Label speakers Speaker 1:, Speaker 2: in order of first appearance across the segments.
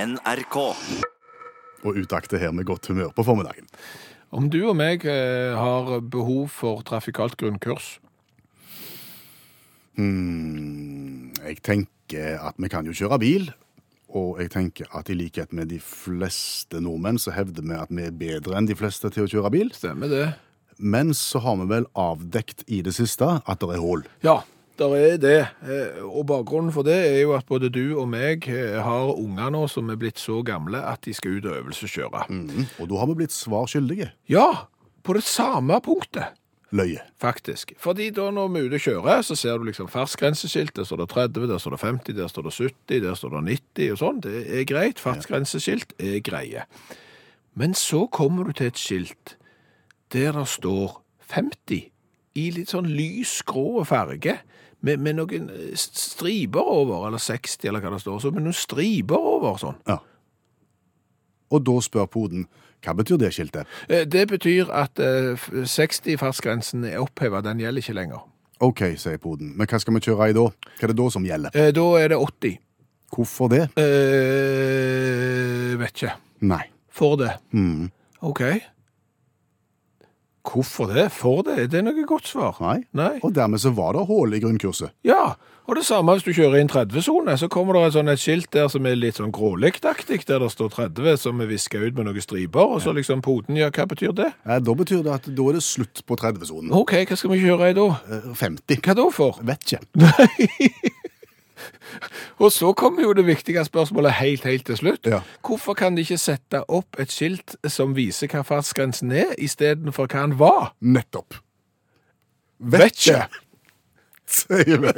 Speaker 1: NRK.
Speaker 2: Og utakte her med godt humør på formiddagen.
Speaker 3: Om du og meg eh, har behov for trafikalt grunnkurs
Speaker 2: Hmm, jeg tenker at vi kan jo kjøre bil. Og jeg tenker at i likhet med de fleste nordmenn, så hevder vi at vi er bedre enn de fleste til å kjøre bil.
Speaker 3: Stemmer det?
Speaker 2: Men så har vi vel avdekt i det siste at det er hull.
Speaker 3: Ja, der er det. Eh, Og bakgrunnen for det er jo at både du og meg eh, har unger nå som er blitt så gamle at de skal ut og øvelseskjøre.
Speaker 2: Og da har vi blitt svar skyldige.
Speaker 3: Ja, på det samme punktet.
Speaker 2: Løye.
Speaker 3: Faktisk. Fordi da når vi er ute og kjører, så ser du liksom fartsgrenseskilt. Der står det 30, der står det 50, der står det 70, der står det 90 og sånn. Det er greit. Fartsgrenseskilt er greie. Men så kommer du til et skilt der det står 50 i litt sånn lys grå farge. Med, med noen eh, s- striper over, eller 60, eller hva det står. Så med noen striper over sånn.
Speaker 2: Ja. Og da spør poden hva betyr det skiltet?
Speaker 3: Eh, Det betyr at eh, f- 60-fartsgrensen er oppheva. Den gjelder ikke lenger.
Speaker 2: OK, sier poden, men hva skal vi kjøre i da? Hva er det da som gjelder?
Speaker 3: Eh, Da er det 80.
Speaker 2: Hvorfor det?
Speaker 3: Eh, vet ikke.
Speaker 2: Nei.
Speaker 3: For det.
Speaker 2: Mm.
Speaker 3: Ok. Hvorfor det? For det? Er det noe godt svar?
Speaker 2: Nei. Og dermed så var det hull i grunnkurset.
Speaker 3: Ja, og det samme hvis du kjører i en 30-sone, så kommer det et, sånn, et skilt der som er litt sånn grålyktaktig, der det står 30 som er viska ut med noen striper, og så liksom poten, ja, hva betyr det?
Speaker 2: Ja, Eh, da betyr det at da er det slutt på 30-sonen.
Speaker 3: Ok, hva skal vi kjøre i da?
Speaker 2: Eh, 50.
Speaker 3: Hva da for?
Speaker 2: Vet ikke.
Speaker 3: Og så kommer jo det viktige spørsmålet helt, helt til slutt.
Speaker 2: Ja.
Speaker 3: Hvorfor kan de ikke sette opp et skilt som viser hva fartsgrensen er, istedenfor hva den var?
Speaker 2: Nettopp.
Speaker 3: Vet ikke.
Speaker 2: Sier vi.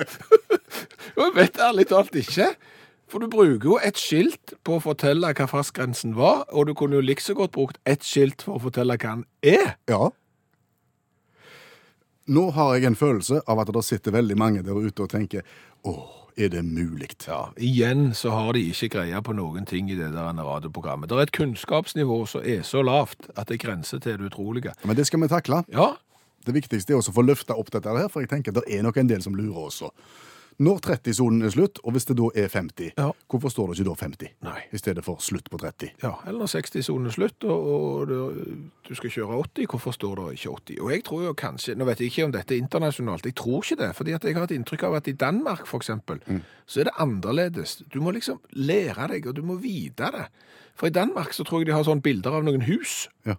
Speaker 3: Og Jeg vet ærlig talt ikke. For du bruker jo et skilt på å fortelle hva fartsgrensen var, og du kunne jo like så godt brukt ett skilt for å fortelle hva den er.
Speaker 2: Ja. Nå har jeg en følelse av at det sitter veldig mange der ute og tenker åh, er det mulig?
Speaker 3: Ja, Igjen så har de ikke greie på noen ting i det der ene radioprogrammet. Det er et kunnskapsnivå som er så lavt at det grenser til det utrolige.
Speaker 2: Men det skal vi takle.
Speaker 3: Ja,
Speaker 2: Det viktigste er også å få løfta opp dette her, for jeg tenker det er nok en del som lurer også. Når 30-sonen er slutt, og hvis det da er 50,
Speaker 3: Ja.
Speaker 2: hvorfor står det ikke da 50?
Speaker 3: Nei.
Speaker 2: I stedet for slutt på 30.
Speaker 3: ja. Eller når 60-sonen er slutt, og, og du, du skal kjøre 80, hvorfor står det ikke 80? Og jeg tror jo kanskje Nå vet jeg ikke om dette er internasjonalt, jeg tror ikke det. fordi at jeg har et inntrykk av at i Danmark, for eksempel, så er det annerledes. Du må liksom lære deg, og du må vite det. For i Danmark så tror jeg de har sånne bilder av noen hus.
Speaker 2: Ja.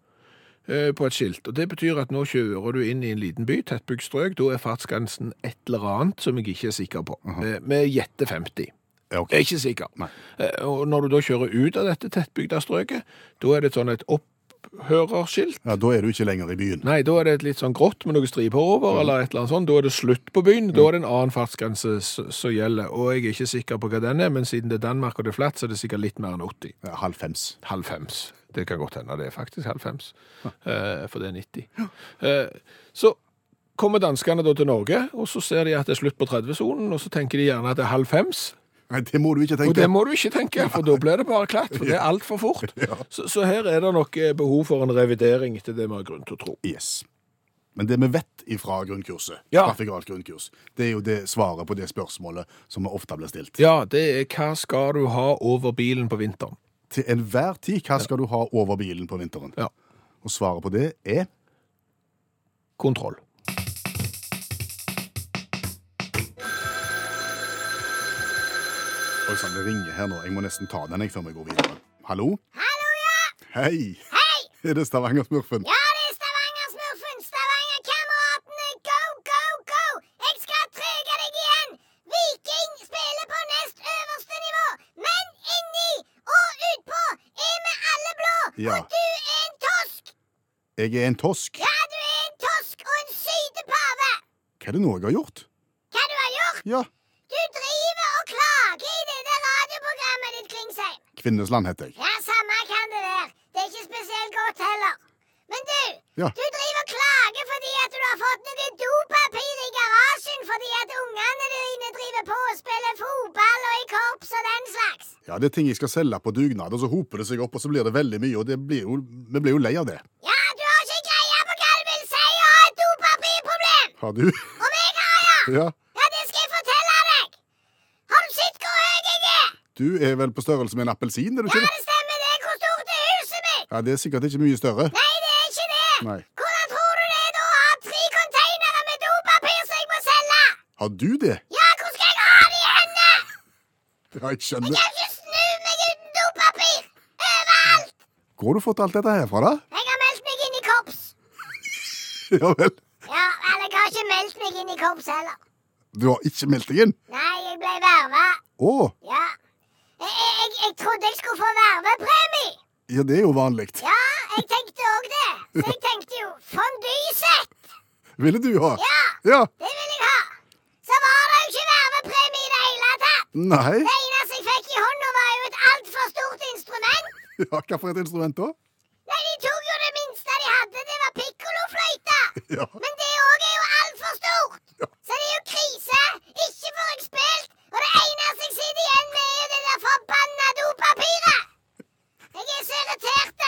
Speaker 3: eh, På et skilt, og Det betyr at nå kjører du inn i en liten by, tettbygd strøk. Da er fartsgrensen et eller annet som jeg ikke er sikker på. Eh, Vi gjetter 50.
Speaker 2: Ja, ok.
Speaker 3: Jeg er ikke sikker.
Speaker 2: Nei.
Speaker 3: Eh, Og når du da kjører ut av dette tettbygda strøket, da er det et sånn et opphørerskilt.
Speaker 2: Ja, da er du ikke lenger i byen.
Speaker 3: Nei, da er det et litt sånn grått med noen striper over, eller et eller annet sånt. Da er det slutt på byen, da er det en annen fartsgrense s- som gjelder. Og jeg er ikke sikker på hva den er, men siden det er Danmark og det er flatt, så er det sikkert litt mer enn 80.
Speaker 2: Ja, Halv fems.
Speaker 3: Halv fems. Det kan godt hende det er faktisk halv fems, eh, for det er 90. Eh, så kommer danskene da til Norge, og så ser de at det er slutt på 30-sonen, og så tenker de gjerne at det er halv fems.
Speaker 2: Nei, det må du ikke
Speaker 3: Og
Speaker 2: tenke.
Speaker 3: det må du ikke tenke, for da blir det bare klatt, for det er altfor fort. Så, så her er det nok eh, behov for en revidering etter det vi har grunn til å tro.
Speaker 2: Yes. Men det vi vet ifra grunnkurset,
Speaker 3: Ja.
Speaker 2: trafikalt grunnkurs, det er jo det svaret på det spørsmålet som vi ofte blir stilt.
Speaker 3: Ja, det er hva skal du ha over bilen på vinteren?
Speaker 2: Til enhver tid, hva skal du ha over bilen på vinteren?
Speaker 3: Ja.
Speaker 2: Og svaret på det er
Speaker 3: Kontroll.
Speaker 2: Oi sann, det ringer her nå. Jeg må nesten ta den jeg før vi går videre. Hallo?
Speaker 4: Hallo, ja!
Speaker 2: Hei! Er det Stavanger-smurfen?
Speaker 4: Ja, det er Stavanger-smurfen! Stavanger-kameratene, go, go, go! Jeg skal trege deg igjen! Viking spiller på nest øverste nivå, men inni og utpå er vi alle blå!
Speaker 2: Ja.
Speaker 4: Og du er en tosk!
Speaker 2: Jeg er en tosk.
Speaker 4: Ja, du er en tosk og en sytepave!
Speaker 2: Hva er det nå jeg har gjort?
Speaker 4: Hva du har gjort?
Speaker 2: Ja,
Speaker 4: Du driver og klager i det der radioprogrammet ditt, Klingsheim.
Speaker 2: Kvinnesland heter jeg.
Speaker 4: Ja, samme kan det være. Det er ikke spesielt godt heller. Men du,
Speaker 2: Ja.
Speaker 4: du driver og klager fordi at du har fått noe dopapir i garasjen fordi at ungene dine driver på og spiller fotball og i korps og den slags.
Speaker 2: Ja, det er ting jeg skal selge på dugnad, og så hoper det seg opp, og så blir det veldig mye, og det blir jo, vi blir jo lei av det.
Speaker 4: Ja, du har ikke greie på hva du vil si og har et dopapirproblem.
Speaker 2: Har du?
Speaker 4: Om jeg har, ja.
Speaker 2: Ja.
Speaker 4: Ja, det skal jeg fortelle deg. Har du sett hvor høy jeg er?
Speaker 2: Du er vel på størrelse med en appelsin, er du
Speaker 4: Ja,
Speaker 2: ikke det?
Speaker 4: det stemmer det. Hvor stort er huset mitt?
Speaker 2: Ja, Det er sikkert ikke mye større.
Speaker 4: Nei, det er ikke det.
Speaker 2: Nei.
Speaker 4: Hvordan tror du det er da å ha tre containere med dopapir som jeg må selge?
Speaker 2: Har du det?
Speaker 4: Ja, hvor skal jeg ha det i hendene?
Speaker 2: Ja, jeg
Speaker 4: Jeg
Speaker 2: skjønner.
Speaker 4: kan ikke snu meg uten dopapir. Overalt.
Speaker 2: Hvor har du fått alt dette herfra, da?
Speaker 4: Jeg har meldt meg inn i korps.
Speaker 2: Ja vel.
Speaker 4: Ja, eller jeg har ikke meldt meg inn i korps heller.
Speaker 2: Du har ikke meldt deg inn?
Speaker 4: Nei, jeg ble verva.
Speaker 2: Å,
Speaker 4: Ja. Jeg, jeg, jeg, jeg trodde jeg skulle få vervepremie.
Speaker 2: ja, det er jo vanlig.
Speaker 4: Ja, jeg tenkte òg det. Så jeg tenkte jo fondyset.
Speaker 2: Ville du ha?
Speaker 4: Ja,
Speaker 2: Ja.
Speaker 4: det vil jeg ha. Så var det jo ikke vervepremie i det hele tatt.
Speaker 2: Nei.
Speaker 4: Det eneste jeg fikk i hånda, var jo et altfor stort instrument.
Speaker 2: Ja, hva for et instrument da?
Speaker 4: Nei, de tok jo det minste de hadde. Det var pikkolofløyta.
Speaker 2: Ja.
Speaker 4: Men det òg er jo altfor stort. Så det er jo krise. Ikke får jeg spilt. Og det eneste jeg sitter igjen med, er jo det der forbanna dopapiret. Jeg er så irritert.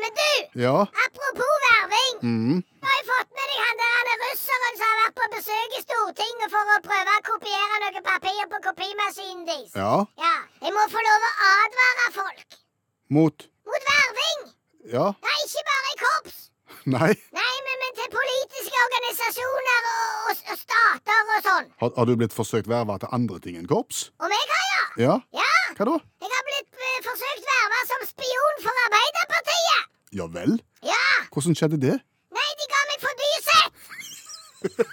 Speaker 4: Men du,
Speaker 2: Ja.
Speaker 4: apropos verving.
Speaker 2: Mm.
Speaker 4: Nå har jeg fått med deg han der han er russeren som har vært på besøk i Stortinget for å prøve å kopiere noe papir på kopimaskinen deres.
Speaker 2: Ja.
Speaker 4: ja. Jeg må få lov å advare folk
Speaker 2: Mot.
Speaker 4: mot verving.
Speaker 2: Ja.
Speaker 4: Nei, ikke bare i korps.
Speaker 2: Nei.
Speaker 4: Nei, men, men til politiske organisasjoner og, og, og stater og sånn.
Speaker 2: Har, har du blitt forsøkt verva til andre ting enn korps?
Speaker 4: Og meg har jeg.
Speaker 2: Ja.
Speaker 4: Ja,
Speaker 2: Hva da?
Speaker 4: jeg har blitt eh, forsøkt verva som spion for Arbeiderpartiet.
Speaker 2: Ja vel.
Speaker 4: Ja.
Speaker 2: Hvordan skjedde det?
Speaker 4: Nei, de ga meg fordyset.
Speaker 2: Ja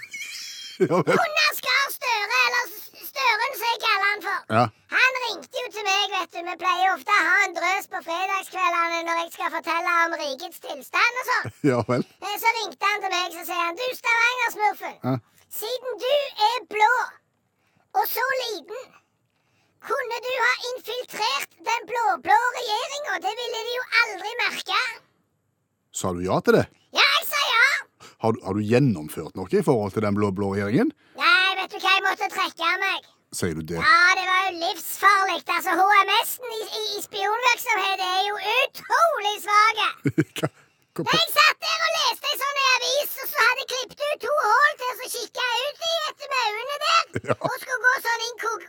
Speaker 2: vel.
Speaker 4: Gunnar Skar Støre, eller S- Støren som jeg kaller han for.
Speaker 2: Ja.
Speaker 4: Han ringte jo til meg, vet du. Vi pleier ofte å ha en drøs på fredagskveldene når jeg skal fortelle om rikets tilstand og sånn.
Speaker 2: Ja vel.
Speaker 4: Eh, Så ringte han til meg, så sier han Du, Stavanger-smurfen.
Speaker 2: Ja.
Speaker 4: Siden du er blå og så liten, kunne du ha infiltrert den blå-blå regjeringa? Det ville de jo aldri merke.
Speaker 2: Sa du ja til det?
Speaker 4: Ja, jeg sa ja.
Speaker 2: Har du, har du gjennomført noe i forhold til den blå-blå regjeringen?
Speaker 4: Nei, vet du hva, jeg måtte trekke meg.
Speaker 2: Sier du det?
Speaker 4: Ja, det var jo livsfarlig. Altså, HMS-en i, i, i spionvirksomhet er jo utrolig svake.
Speaker 2: Hva? hva-
Speaker 4: Da jeg satt der og leste ei sånn avis, og så hadde jeg klippet ut to hull til, og så kikka jeg ut i vet du, med øynene der,
Speaker 2: Ja.
Speaker 4: og skulle gå sånn inkog...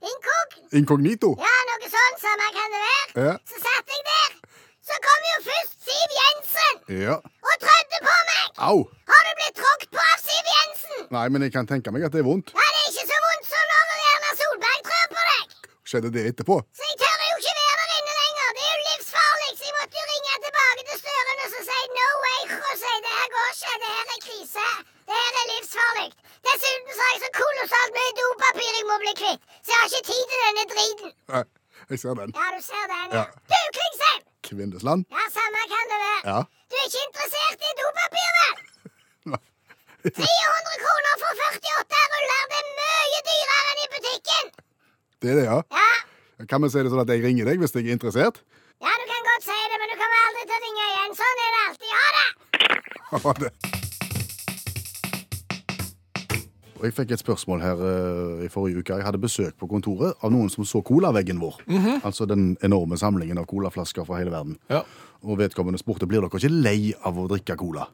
Speaker 4: Inkog?
Speaker 2: Inkognito?
Speaker 4: Ja, noe sånn, samme kan det være.
Speaker 2: Ja.
Speaker 4: Så satt jeg der. Så kom jo først Siv Jensen
Speaker 2: Ja.
Speaker 4: og trødde på meg.
Speaker 2: Au!
Speaker 4: Har du blitt tråkket på av Siv Jensen?
Speaker 2: Nei, men jeg kan tenke meg at det er vondt.
Speaker 4: Ja, det er ikke så vondt som når Erna Solberg trør på deg.
Speaker 2: Skjedde det etterpå?
Speaker 4: Så jeg tør jo ikke være der inne lenger. Det er jo livsfarlig. Så jeg måtte jo ringe tilbake til Støren og så si no way. Og si det her går ikke. Det her er krise. Det her er livsfarlig. Dessuten så har jeg så kolossalt mye dopapir jeg må bli kvitt. Så jeg har ikke tid til denne driten.
Speaker 2: Nei, jeg ser den.
Speaker 4: Ja, du ser den,
Speaker 2: Ja.
Speaker 4: ja. Du, Klingsheim!
Speaker 2: Kvindesland?
Speaker 4: Ja, samme kan det være.
Speaker 2: Ja.
Speaker 4: Du er ikke interessert i dopapir, vel?
Speaker 2: Nei.
Speaker 4: 300 kroner for 48 ruller. Det er mye dyrere enn i butikken.
Speaker 2: Det er det, ja.
Speaker 4: Ja.
Speaker 2: Kan vi si det sånn at jeg ringer deg hvis jeg er interessert?
Speaker 4: Ja, du kan godt si det, men du kommer aldri til å ringe igjen. Sånn er det alltid. Ha det!
Speaker 2: Ha det. Og Jeg fikk et spørsmål her eh, i forrige uke. Jeg hadde besøk på kontoret av noen som så colaveggen vår. Altså den enorme samlingen av colaflasker fra hele verden.
Speaker 3: Ja.
Speaker 2: Og vedkommende spurte blir dere ikke lei av å drikke cola.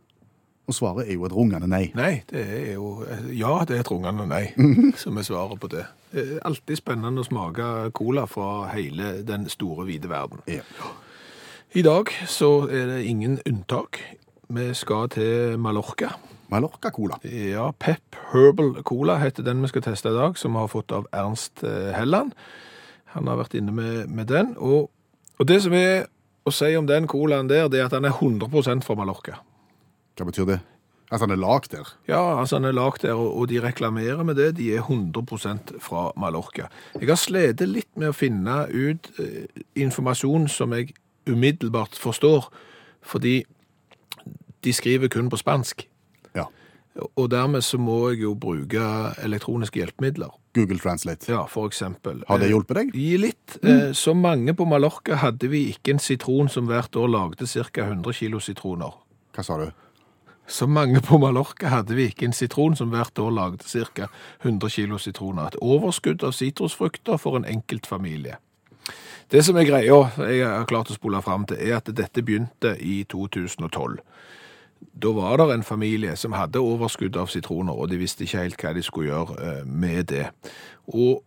Speaker 2: Og svaret er jo et rungende nei.
Speaker 3: Nei, det er jo eh, Ja, det er et rungende nei, som er svaret på det. Det er alltid spennende å smake cola fra hele den store, vide verden.
Speaker 2: Ja.
Speaker 3: I dag så er det ingen unntak. Vi skal til Mallorca.
Speaker 2: Mallorca-cola.
Speaker 3: Ja, Pep Herbal Cola heter den vi skal teste i dag, som vi har fått av Ernst eh, Helland. Han har vært inne med, med den. Og, og det som er å si om den colaen der, det er at den er 100 fra Mallorca.
Speaker 2: Hva betyr det? Altså, han er lagd der.
Speaker 3: Ja, altså han er lagd der, og og de reklamerer med det. De er 100 fra Mallorca. Jeg har slitt litt med å finne ut eh, informasjon som jeg umiddelbart forstår, fordi de skriver kun på spansk.
Speaker 2: Ja.
Speaker 3: Og dermed så må jeg jo bruke elektroniske hjelpemidler.
Speaker 2: Google Translate.
Speaker 3: Ja, for eksempel.
Speaker 2: Har det Mm.
Speaker 3: Eh,
Speaker 2: hjulpet deg?
Speaker 3: Gi litt. Eh, Som mange på Mallorca hadde vi ikke en sitron som hvert år lagde ca. 100 kilo sitroner.
Speaker 2: Hva sa du?
Speaker 3: Så mange på Mallorca hadde vi ikke en sitron som hvert år lagde ca. 100 kilo sitroner. Et overskudd av sitrusfrukter for en enkelt familie. Det som er greia, jeg har klart å spole fram til, er at dette begynte i 2012. Da var det en familie som hadde overskudd av sitroner, og de visste ikke helt hva de skulle gjøre eh, med det. Og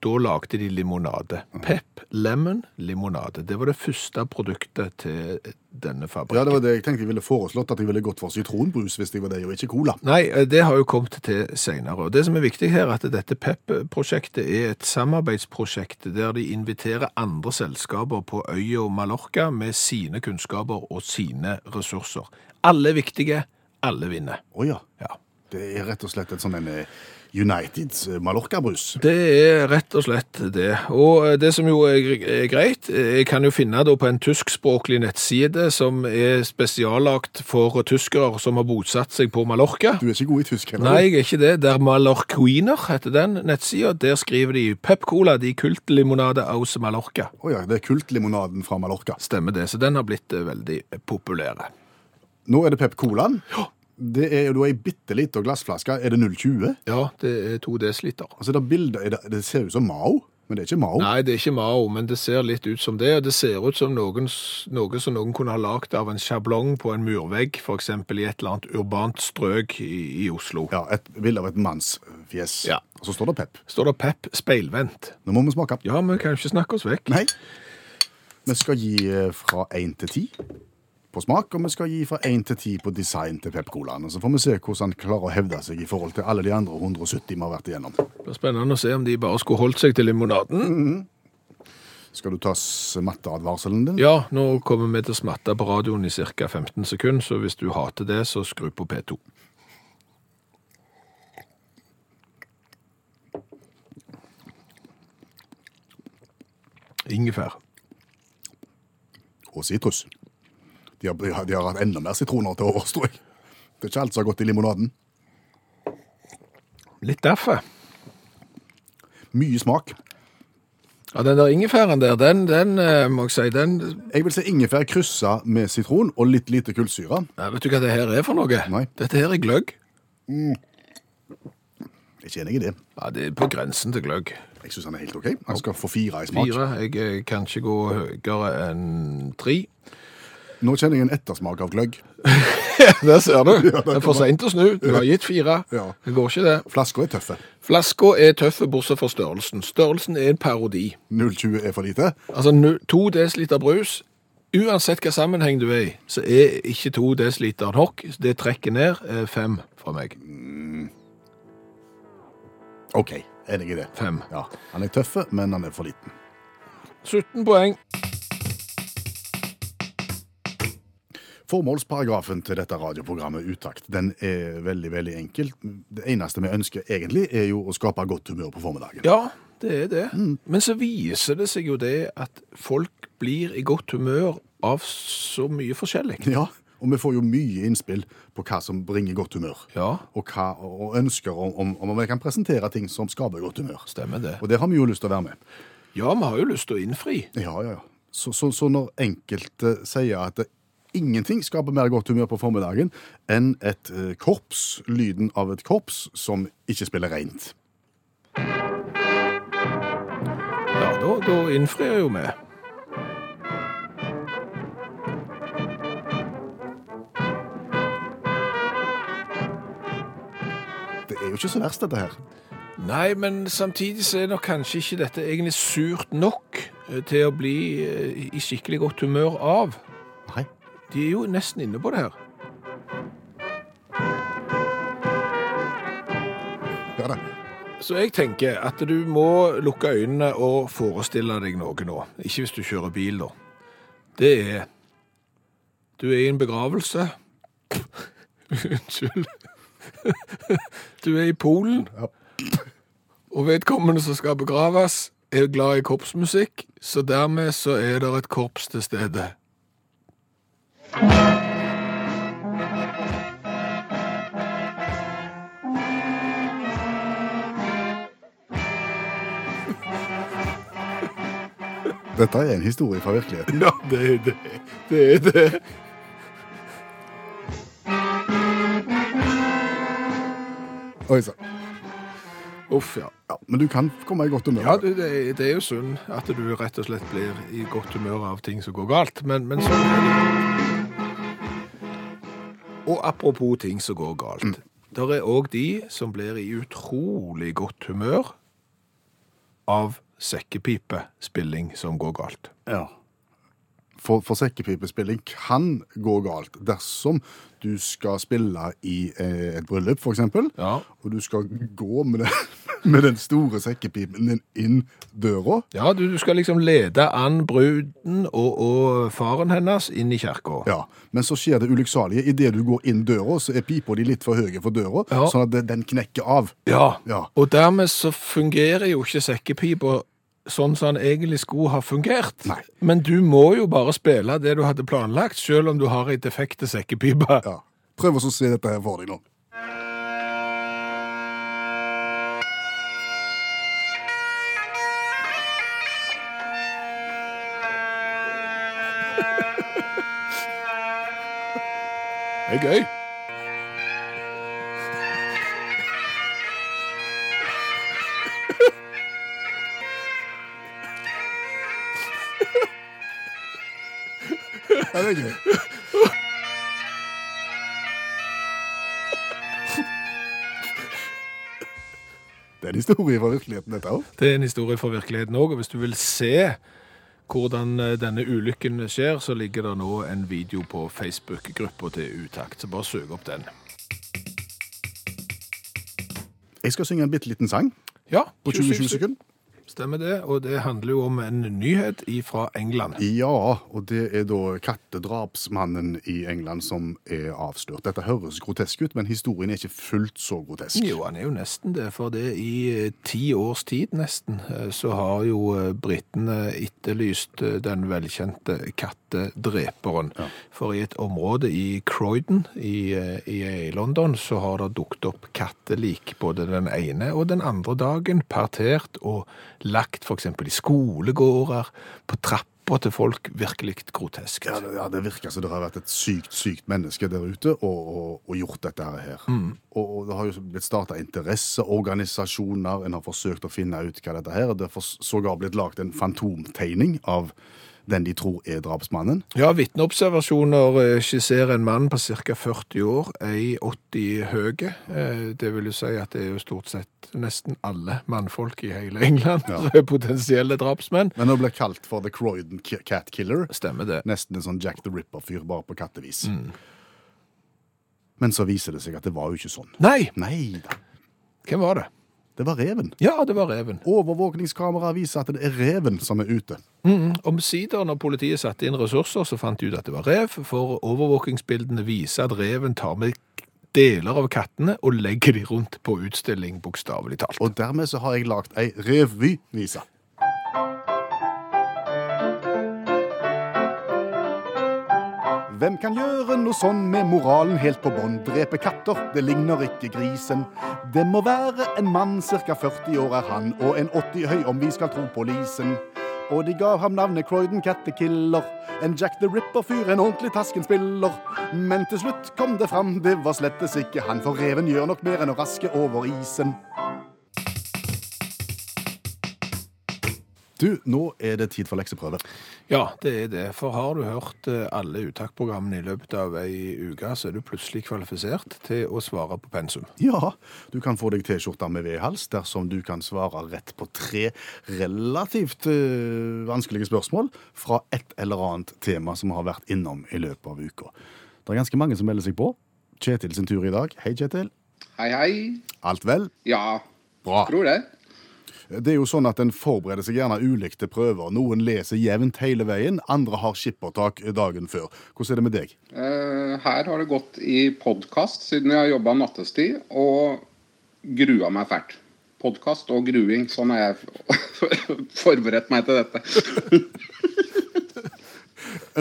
Speaker 3: Da lagde de limonade. Pep Lemon limonade. Det var det første produktet til denne fabrikken.
Speaker 2: Ja, det var det jeg tenkte jeg ville foreslått, at jeg ville gått for sitronbrus hvis jeg var det, og ikke cola.
Speaker 3: Nei, eh, det har jo kommet til senere. Og det som er viktig her, er at dette PEP-prosjektet er et samarbeidsprosjekt der de inviterer andre selskaper på øya Mallorca med sine kunnskaper og sine ressurser. Alle er viktige, alle vinner.
Speaker 2: Å ja.
Speaker 3: Ja.
Speaker 2: Det er rett og slett et sånn en eh, United eh, Mallorca-brus.
Speaker 3: Det er rett og slett det. Og eh, det som jo er er greit, eh, jeg kan jo finne da på en tyskspråklig nettside som er spesiallagt for tyskere som har bosatt seg på Mallorca.
Speaker 2: Du er ikke god i tysk heller.
Speaker 3: Nei, jeg er ikke det. Der Mallorquiner heter den nettsida. Der skriver de Pepcola, de kultlimonade aus Mallorca.
Speaker 2: Å ja, det er kultlimonaden fra Mallorca.
Speaker 3: Stemmer det. Så den har blitt eh, veldig populære.
Speaker 2: Nå er det Pep Colaen. Det er jo da ei bitte lita glassflaske. Er det 0,20?
Speaker 3: Ja, det er to desiliter.
Speaker 2: Og så er det bilder er det, det ser ut som Mao, men det er ikke Mao.
Speaker 3: Nei, det er ikke Mao, men det ser litt ut som det. og Det ser ut som noen, s- noe som noen kunne ha lagd av en sjablong på en murvegg, f.eks. i et eller annet urbant strøk i, i Oslo.
Speaker 2: Ja, Et bilde av et mannsfjes.
Speaker 3: Ja.
Speaker 2: Og så står det Pep.
Speaker 3: Står det Pep speilvendt?
Speaker 2: Nå må vi smake.
Speaker 3: Ja, men vi kan jo ikke snakke oss vekk.
Speaker 2: Nei. Vi skal gi eh, fra 1 til 10 på smak, og vi skal gi fra 1 til 10 på design til Pep Colaen. Og Så får vi se hvordan han klarer å hevde seg i forhold til alle de andre 170 vi har vært igjennom.
Speaker 3: Det blir spennende å se om de bare skulle holdt seg til limonaden.
Speaker 2: Skal du ta s- matteadvarselen din?
Speaker 3: Ja, nå kommer vi til å smatte på radioen i ca. 15 sekunder, så hvis du hater det, så skru på P2. Ingefær.
Speaker 2: Og sitrus. De har, de har- de har hatt enda mer sitroner til overs, tror jeg. Det er ikke alt som har gått i limonaden.
Speaker 3: Litt derfor.
Speaker 2: Mye smak.
Speaker 3: Ja, den der ingefæren der, den, den eh, må jeg si, den
Speaker 2: Jeg vil se ingefær kryssa med sitron og litt lite kullsyre.
Speaker 3: Nei, Vet du hva det her er for noe?
Speaker 2: Nei.
Speaker 3: Dette her er gløgg.
Speaker 2: Jeg er ikke enig i det.
Speaker 3: Ja, det er på grensen til gløgg.
Speaker 2: Jeg syns han er helt OK. Han skal få fire i smak.
Speaker 3: Fire. Jeg eh, kan ikke gå høyere enn tre.
Speaker 2: Nå kjenner jeg en ettersmak av gløgg.
Speaker 3: Der ser du. Det er for seint å snu. Du har gitt fire.
Speaker 2: Ja.
Speaker 3: Det går ikke, det.
Speaker 2: Flaska er tøffe.
Speaker 3: Flaska er tøffe, bortsett fra størrelsen. Størrelsen er en parodi.
Speaker 2: 0,20 er for lite.
Speaker 3: Altså, nu- to desiliter brus, uansett hva sammenheng du er i, så er ikke to desiliter nok. Det trekker ned eh, fem fra meg.
Speaker 2: OK, enig i det.
Speaker 3: Fem.
Speaker 2: Ja, Han er tøffe, men han er for liten.
Speaker 3: 17 poeng.
Speaker 2: Formålsparagrafen til dette radioprogrammet Utakt den er veldig veldig enkel. Det eneste vi ønsker egentlig, er jo å skape godt humør på formiddagen.
Speaker 3: Ja, det er det. Men så viser det seg jo det at folk blir i godt humør av så mye forskjellig.
Speaker 2: Ja, Og vi får jo mye innspill på hva som bringer godt humør.
Speaker 3: Ja,
Speaker 2: Og, hva, og ønsker om, om, om vi kan presentere ting som skaper godt humør.
Speaker 3: stemmer det.
Speaker 2: Og det har vi jo lyst til å være med.
Speaker 3: Ja, vi har jo lyst til å innfri.
Speaker 2: Ja, ja, ja. Så, så, så når enkelte sier at ingenting skaper mer godt humør på formiddagen enn et eh, korps, lyden av et korps som ikke spiller rent.
Speaker 3: Ja, da, da innfrir jo vi.
Speaker 2: Det er jo ikke så verst, dette her.
Speaker 3: Nei, men samtidig så er nok kanskje ikke dette egentlig surt nok eh, til å bli eh, i skikkelig godt humør av.
Speaker 2: Nei.
Speaker 3: De er jo nesten inne på det her.
Speaker 2: Ja da.
Speaker 3: Så jeg tenker at du må lukke øynene og forestille deg noe nå. Ikke hvis du kjører bil, da. Det er Du er i en begravelse. Unnskyld. Du er i Polen,
Speaker 2: Ja.
Speaker 3: og vedkommende som skal begraves, er glad i korpsmusikk, så dermed så er det et korps til stede.
Speaker 2: Dette er en historie fra virkeligheten.
Speaker 3: Ja, det er det. Det er det.
Speaker 2: Oi, så.
Speaker 3: Uff, ja.
Speaker 2: Ja, men du kan komme i godt humør.
Speaker 3: Ja, du, det, er- det er jo synd at du rett og slett blir i godt humør av ting som går galt, men, men sånn er det. Og apropos ting som går galt. Der er òg de som blir i utrolig godt humør av sekkepipespilling som går galt.
Speaker 2: Ja. For, for sekkepipespilling kan gå galt dersom du skal spille i eh, et bryllup, for eksempel,
Speaker 3: Ja.
Speaker 2: og du skal gå med den, med den store sekkepipen din inn døra.
Speaker 3: Ja, du, du skal liksom lede an bruden og, og faren hennes inn i kirka.
Speaker 2: Ja, Men så skjer det ulykksalige. Idet du går inn døra, så er pipa di litt for høye for døra,
Speaker 3: Ja.
Speaker 2: sånn at den- den knekker av.
Speaker 3: Ja.
Speaker 2: Ja.
Speaker 3: Og dermed så fungerer jo ikke sekkepipa sånn som den egentlig skulle ha fungert.
Speaker 2: Nei.
Speaker 3: Men du må jo bare spille det du hadde planlagt, selv om du har ei defekte sekkepipe.
Speaker 2: Ja. Prøv også å se dette her for deg nå.
Speaker 3: Det er gøy.
Speaker 2: Ja, det er gøy. Det er en historie fra virkeligheten, dette òg.
Speaker 3: Det er en historie fra virkeligheten òg. Og hvis du vil se hvordan eh, denne ulykken skjer, så ligger det nå en video på Facebook-gruppa til Utakt. Så bare søk opp den.
Speaker 2: Jeg skal synge en bitte liten sang
Speaker 3: Ja,
Speaker 2: på 20-20 sekunder.
Speaker 3: Stemmer det, og det handler jo om en nyhet fra England.
Speaker 2: Ja, og det er da kattedrapsmannen i England som er avslørt. Dette høres grotesk ut, men historien er ikke fullt så grotesk.
Speaker 3: Jo, han er jo nesten det, for det i eh, ti års tid nesten, eh, så har jo eh, britene etterlyst eh, den velkjente kattedreperen. For i et område i Croydon i, eh, i London, så har det dukt opp kattelik både den ene og den andre dagen, partert og lagt for eksempel i skolegårder, på trapper til folk, virkelig groteskt.
Speaker 2: Ja, det, ja, det virker som det har vært et sykt, sykt menneske der ute og, og, og gjort dette her. Og, og det har jo blitt starta interesseorganisasjoner, en har forsøkt å finne ut hva dette her er. Det har fors- sågar blitt lagd en fantomtegning av den de tror er drapsmannen.
Speaker 3: Ja, vitneobservasjoner eh, skisserer en mann på ca. 40 år, ei 80 høye. Eh, Det vil jo si at det er jo stort sett nesten alle mannfolk i hele England som er potensielle drapsmenn.
Speaker 2: Men nå ble kalt for The Croydon Ki- Cat Killer.
Speaker 3: Stemmer det.
Speaker 2: Nesten en sånn Jack the Ripper-fyr, bare på kattevis. Men så viser det seg at det var jo ikke sånn.
Speaker 3: Nei,
Speaker 2: Nei da,
Speaker 3: hvem var det?
Speaker 2: det var reven.
Speaker 3: Ja, det var reven.
Speaker 2: Overvåkningskameraet viser at det er reven som er ute.
Speaker 3: Mm, Omsider, når politiet satte inn ressurser, så fant de ut at det var rev, for overvåkingsbildene viser at reven tar med deler av kattene og legger de rundt på utstilling, bokstavelig talt.
Speaker 2: Og dermed så har jeg lagt ei revyvise. Hvem kan gjøre noe sånn med moralen helt på bånn? Drepe katter, det ligner ikke grisen. Det må være en mann, ca 40 år er han, og en 80 høy om vi skal tro på Lisen. Og de gav ham navnet Croydon Cattekiller. En Jack the Ripper-fyr, en ordentlig taskenspiller. Men til slutt kom det fram, det var slettes ikke han, for reven gjør nok mer enn å raske over isen. Du, nå er det tid for lekseprøve.
Speaker 3: Ja, det er det. For har du hørt eh, alle uttaksprogrammene i løpet av ei uke, så er du plutselig kvalifisert til å svare på pensum.
Speaker 2: Ja, du kan få deg T-skjorta med V-hals dersom du kan svare rett på tre relativt eh, vanskelige spørsmål fra et eller annet tema som har vært innom i løpet av uka. Det er ganske mange som melder seg på. Kjetil sin tur i dag. Hei, Kjetil.
Speaker 1: Hei, hei.
Speaker 2: Alt vel?
Speaker 1: Ja,
Speaker 2: Bra.
Speaker 1: tror det.
Speaker 2: Det er jo sånn at En forbereder seg gjerne ulikt til prøver. Noen leser jevnt hele veien, andre har skippertak dagen før. Hvordan er det med deg?
Speaker 1: Eh, her har det gått i podkast siden jeg har jobba nattestid, og grua meg fælt. Podkast og gruing. Sånn har jeg forberedt meg til dette.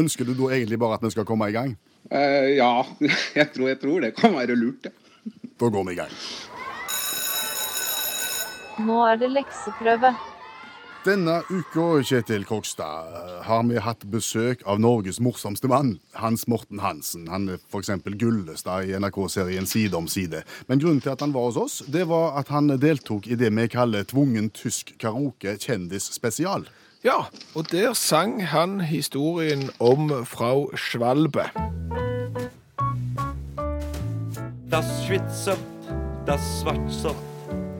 Speaker 2: Ønsker du da egentlig bare at vi skal komme i gang?
Speaker 1: Eh, ja, jeg tror, jeg tror det kan være lurt, det.
Speaker 2: Da går vi i gang.
Speaker 5: Nå er det lekseprøve.
Speaker 2: Denne uka, Kjetil Krokstad, har vi hatt besøk av Norges morsomste mann, Hans Morten Hansen. Han er f.eks. Gullestad i NRK-serien Side om side. Men grunnen til at han var hos oss, det var at han deltok i det vi kaller tvungen tysk karaoke kjendisspesial.
Speaker 3: Ja, og der sang han historien om Frau Schwalbe.
Speaker 6: Das Schwitzerp, das Schwarzerp,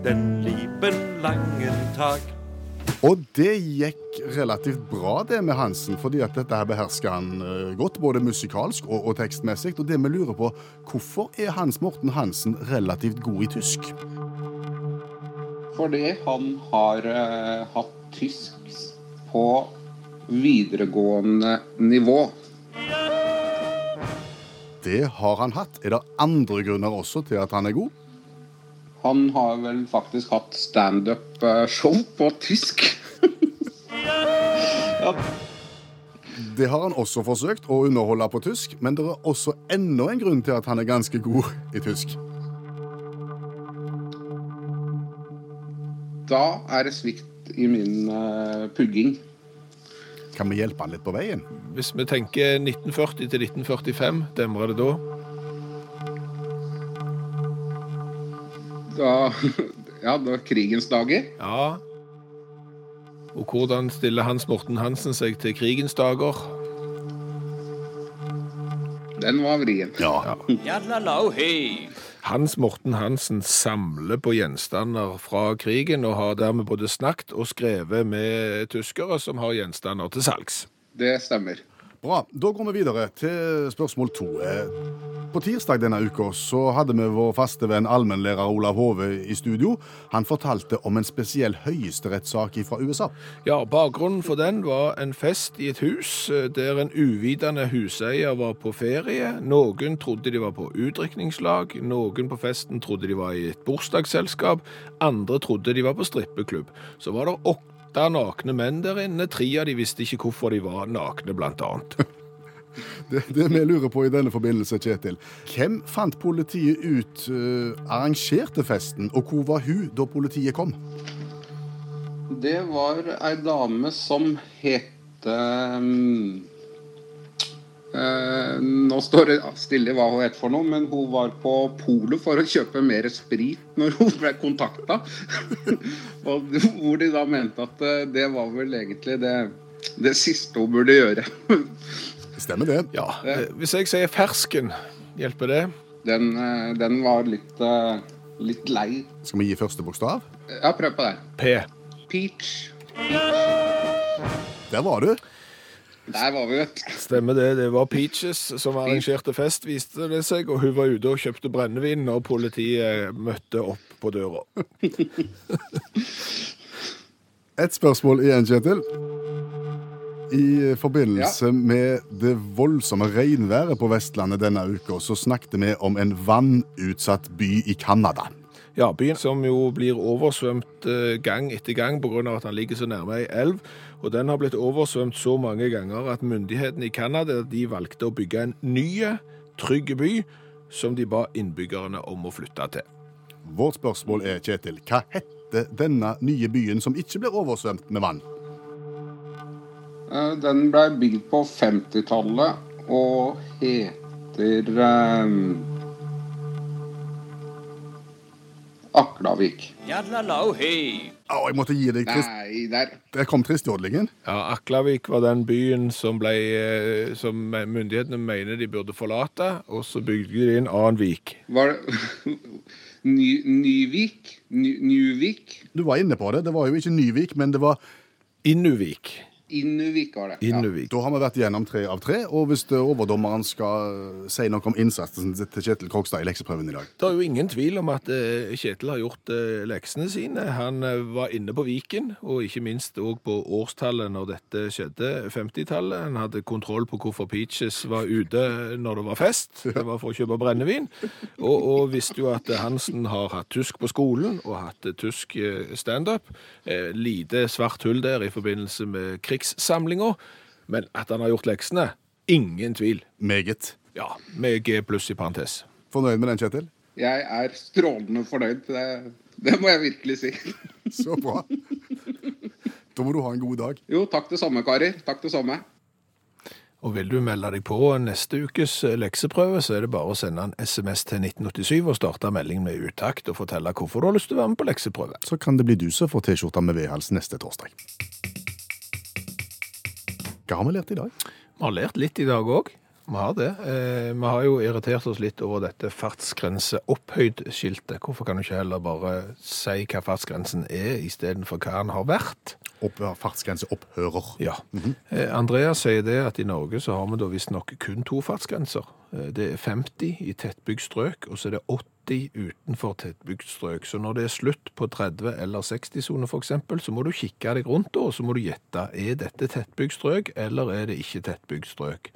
Speaker 6: den lieben langen Tag.
Speaker 2: Og det gikk relativt bra, det med Hansen, fordi at dette her behersker han eh, godt, både musikalsk og, og tekstmessig. Og det vi lurer på, hvorfor er Hans Morten Hansen relativt god i tysk?
Speaker 1: Fordi han har eh, hatt tysk på videregående nivå.
Speaker 2: Det har han hatt. Er det andre grunner også til at han er god?
Speaker 1: Han har vel faktisk hatt standup-show på tysk.
Speaker 2: Det har han også forsøkt å underholde på tysk, men det er også enda en grunn til at han er ganske god i tysk.
Speaker 1: Da er det svikt i min eh, pugging.
Speaker 2: Kan vi hjelpe han litt på veien?
Speaker 3: Hvis vi tenker 1940 til 1945, demrer det da?
Speaker 1: Da, ja, det var krigens dager.
Speaker 3: Ja. Og hvordan stiller Hans Morten Hansen seg til krigens dager?
Speaker 1: Den var vrien.
Speaker 2: Ja.
Speaker 3: Hans Morten Hansen samler på gjenstander fra krigen, og har dermed både snakket og skrevet med tyskere som har gjenstander til salgs.
Speaker 1: Det stemmer.
Speaker 2: Bra. Da går vi videre til spørsmål to. Eh, På tirsdag denne uka så hadde vi vår faste venn allmennlærer Olav Hove i studio. Han fortalte om en spesiell høyesterettssak fra USA.
Speaker 3: Ja, Bakgrunnen for den var en fest i et hus eh, der en uvitende huseier var på ferie. Noen trodde de var på utdrikningslag, noen på festen trodde de var i et bursdagsselskap, andre trodde de var på strippeklubb. Så var det åtte nakne menn der inne, tre av de visste ikke hvorfor de var nakne, blant annet.
Speaker 2: Det, det vi lurer på i denne forbindelse, Kjetil. Hvem fant politiet ut eh, arrangerte festen, og hvor var hun da politiet kom?
Speaker 1: Det var ei dame som het ehm, eh, Nå står det stille hva hun het for noe, men hun var på polet for å kjøpe mer sprit når hun ble kontakta. Og hvor de da mente at eh, det var vel egentlig det, det siste hun burde gjøre.
Speaker 2: Stemmer det?
Speaker 3: Ja, eh, Hvis jeg sier fersken, hjelper det?
Speaker 1: Den, eh, den var litt, eh, litt lei.
Speaker 2: Skal vi gi første bokstav?
Speaker 1: Ja, prøv på det.
Speaker 3: P.
Speaker 1: Peach.
Speaker 2: Der var du.
Speaker 1: Der var vi, vet du.
Speaker 3: Stemmer det. Det var Peaches som arrangerte fest, viste det seg, og hun var ute og kjøpte brennevin når politiet møtte opp på døra.
Speaker 2: Et spørsmål igjen, Kjetil. I forbindelse med det voldsomme regnværet på Vestlandet denne uka, så snakket vi om en vannutsatt by i Canada.
Speaker 3: Ja, byen som jo blir oversvømt eh, gang etter gang pga. at han ligger så nærme ei elv. Og den har blitt oversvømt så mange ganger at myndighetene i Canada de valgte å bygge en ny, trygg by som de ba innbyggerne om å flytte til.
Speaker 2: Vårt spørsmål er, Kjetil, hva heter denne nye byen som ikke blir oversvømt med vann?
Speaker 1: Eh, Den ble bygd på 50-tallet og heter eh, Aklavik.
Speaker 2: Å, jeg måtte gi deg trist.
Speaker 1: Nei, der.
Speaker 2: Der kom tristjodlingen.
Speaker 3: Ja, Aklavik var den byen som, ble, eh, som myndighetene mener de burde forlate, og så bygde de en annen vik.
Speaker 1: Var det Ny, Nyvik? Ny, Nuvik?
Speaker 2: Du var inne på det. Det var jo ikke Nyvik, men det var
Speaker 3: Innuvik.
Speaker 1: Innuvik var det. Ja.
Speaker 3: Innuvik.
Speaker 2: Da har vi vært igjennom tre av tre, og hvis eh, overdommeren skal eh, si noe om innsatsen til Kjetil Krogstad i lekseprøven i dag
Speaker 3: Det er jo ingen tvil om at eh, Kjetil har gjort eh, leksene sine. Han eh, var inne på Viken, og ikke minst òg på årstallet når dette skjedde, 50-tallet. Han hadde kontroll på hvorfor Peaches var ute når det var fest. Det var for å kjøpe brennevin. Og, og visste jo at Hansen har hatt tysk på skolen, og hatt eh, tysk eh, standup. Eh, Lite svart hull der i forbindelse med krigssamlinga. Men at han har gjort leksene, ingen tvil.
Speaker 2: Meget.
Speaker 3: Ja, med G pluss i parentes.
Speaker 2: Fornøyd med den, Kjetil?
Speaker 1: Jeg er strålende fornøyd. Det, det må jeg virkelig si.
Speaker 2: Så bra. Da må du ha en god dag.
Speaker 1: Jo, takk det samme, karer. Takk det samme.
Speaker 3: Og vil du melde deg på neste ukes eh, lekseprøve, så er det bare å sende en SMS til 1987 og starte meldingen med utakt og fortelle hvorfor du har lyst til å være med på lekseprøve.
Speaker 2: Så kan det bli du som får T-skjorta med V-hals neste torsdag. Hva har vi lært i dag?
Speaker 3: Vi har lært litt i dag òg. vi har det. Eh, vi har jo irritert oss litt over dette fartsgrense-opphøyd-skiltet. Hvorfor kan du ikke heller bare si hva fartsgrensen er, istedenfor hva den har vært?
Speaker 2: Opp, fartsgrense opphører.
Speaker 3: Ja. Eh, Andreas sier det at i Norge så har vi da visstnok kun to fartsgrenser. Eh, Det er 50 i tettbygd strøk, og så er det 80 utenfor tettbygd strøk. Så når det er slutt på 30 eller 60-sone f.eks., så må du kikke deg rundt da, og så må du gjette er dette tettbygd strøk, eller er det ikke tettbygd strøk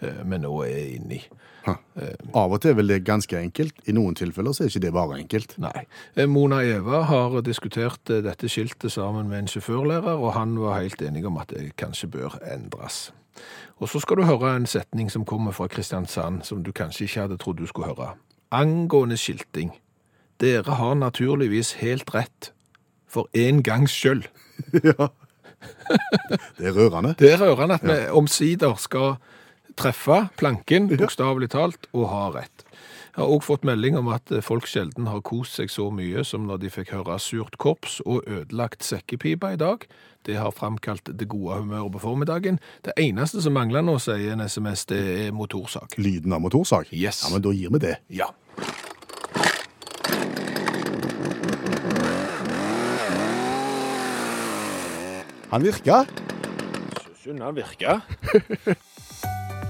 Speaker 3: eh, vi nå er inne i.
Speaker 2: Av og til er vel det ganske enkelt. I noen tilfeller så er ikke det bare enkelt.
Speaker 3: Nei. Eh, Mona Eva har diskutert eh, dette skiltet sammen med en sjåførlærer, og han var helt enig om at det kanskje bør endres. Og så skal du høre en setning som kommer fra Kristiansand, som du kanskje ikke hadde trodd du skulle høre. Angående skilting. Dere har naturligvis helt rett. For en gangs skyld.
Speaker 2: ja. Det er rørende.
Speaker 3: Det er rørende at vi omsider skal treffe planken, bokstavelig talt, og ha rett. Jeg har også fått melding om at folk sjelden har kost seg så mye som når de fikk høre surt korps og ødelagt sekkepipa i dag. Det har framkalt det gode humøret på formiddagen. Det eneste som mangler nå, sier en SMS, det er motorsak.
Speaker 2: Lyden av motorsag?
Speaker 3: Yes.
Speaker 2: Ja, men da gir vi det.
Speaker 3: Ja.
Speaker 2: Han virka.
Speaker 6: Sunna virker.